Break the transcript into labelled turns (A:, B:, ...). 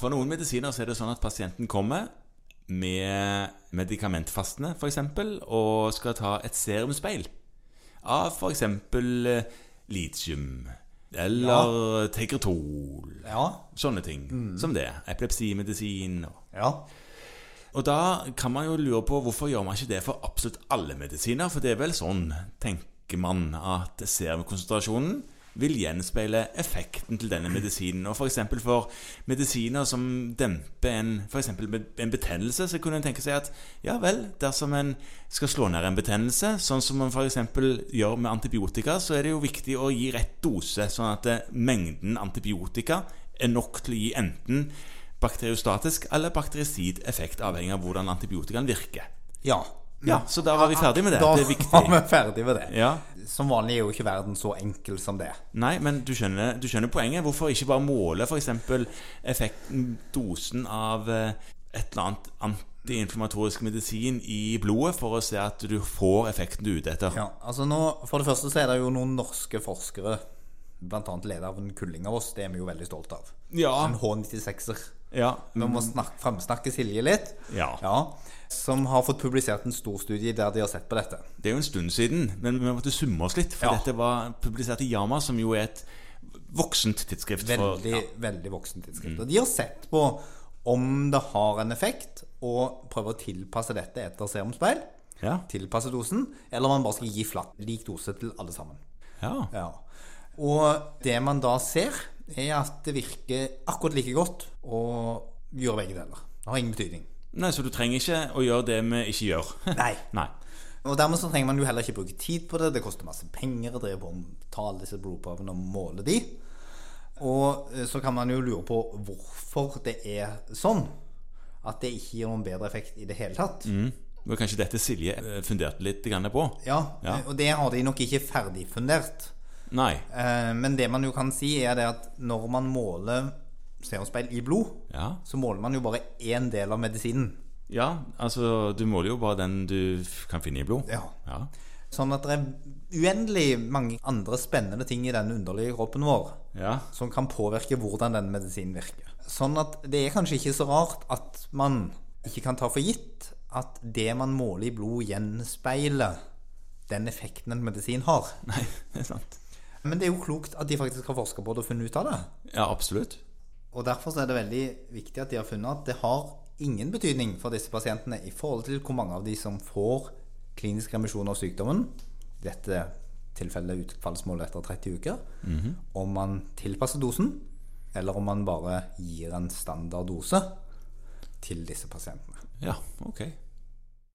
A: For noen medisiner så er det sånn at pasienten kommer med medikamentfastene, f.eks., og skal ta et serumspeil av f.eks. litium eller Tegretol.
B: Ja.
A: Sånne ting som det. Epilepsimedisin. og-
B: Ja.
A: Og da kan man jo lure på hvorfor gjør man ikke det for absolutt alle medisiner? For det er vel sånn, tenker man, at serumkonsentrasjonen vil gjenspeile effekten til denne medisinen. Og f.eks. For, for medisiner som demper en, for eksempel med- en betennelse, så kunne en tenke seg at ja vel, dersom en skal slå ned en betennelse, sånn som man f.eks. gjør med antibiotika, så er det jo viktig å gi rett dose, sånn at eh, mengden antibiotika er nok til å gi enten bakteriostatisk eller bakterisid effekt, avhengig av hvordan antibiotikaen virker.
B: ja.
A: Ja, så da var vi ferdig med det.
B: Da
A: Det er
B: var vi
A: viktig.
B: ferdig med det.
A: Ja.
B: Som vanlig er jo ikke verden så enkel som det.
A: Nei, men du skjønner, du skjønner poenget. Hvorfor ikke bare måle f.eks. effekten, dosen av eh, et eller annet antiinflamatorisk medisin i blodet, for å se at du får effekten du er ute etter.
B: Ja, altså nå, For det første så er det jo noen norske forskere, bl.a. leder av en kulling av oss, det er vi jo veldig stolt av.
A: Ja.
B: En H96-er.
A: Ja.
B: Vi må snakke, framsnakke Silje litt.
A: Mm. Ja.
B: Som har fått publisert en stor studie der de har sett på dette.
A: Det er jo en stund siden, men vi måtte summe oss litt. For
B: Ja.
A: dette var publisert i Yama, som jo er et voksent tidsskrift. for-
B: Veldig, veldig voksen tidsskrift.
A: Mm.
B: Og de har sett på om det har en effekt, og prøver å tilpasse dette etter serumspeil.
A: Ja.
B: Tilpasse dosen. Eller om man bare skal gi flatt lik dose til alle sammen.
A: ja.
B: Ja. Og det man da ser, er at det virker akkurat like godt å gjøre begge deler. Det har ingen betydning.
A: Nei, så du trenger ikke å gjøre det vi ikke gjør.
B: Nei.
A: Nei.
B: Og dermed så trenger man jo heller ikke bruke tid på det. Det koster masse penger å drive på med å ta alle disse blodprøvene og måle de. Og eh, så kan man jo lure på hvorfor det er sånn. At det ikke gir noen bedre effekt i det hele tatt.
A: Mm. Det var kanskje dette Silje eh, funderte litt grann på.
B: Ja,
A: Ja.
B: Og det har de nok ikke ferdigfundert.
A: Nei.
B: Eh, Men det man jo kan si, er det at når man måler serumspeil i blod,
A: Ja.
B: så måler man jo bare én del av medisinen.
A: ja, altså du måler jo bare den du f- kan finne i blod.
B: Ja.
A: Ja.
B: Sånn at det er uendelig mange andre spennende ting i den underlige kroppen vår
A: Ja.
B: som kan påvirke hvordan den medisinen virker. Sånn at det er kanskje ikke så rart at man ikke kan ta for gitt at det man måler i blod, gjenspeiler den effekten en medisin har.
A: Nei, det er sant.
B: Men det er jo klokt at de faktisk har forska på det og funnet ut av det.
A: Ja, absolutt.
B: Og derfor så er det veldig viktig at de har funnet at det har ingen betydning for disse pasientene i forhold til hvor mange av de som får klinisk remisjon av sykdommen, i dette tilfellet utfallsmålet etter 30 uker, om man tilpasser dosen, eller om man bare gir en standarddose til disse pasientene.
A: Ja, ok.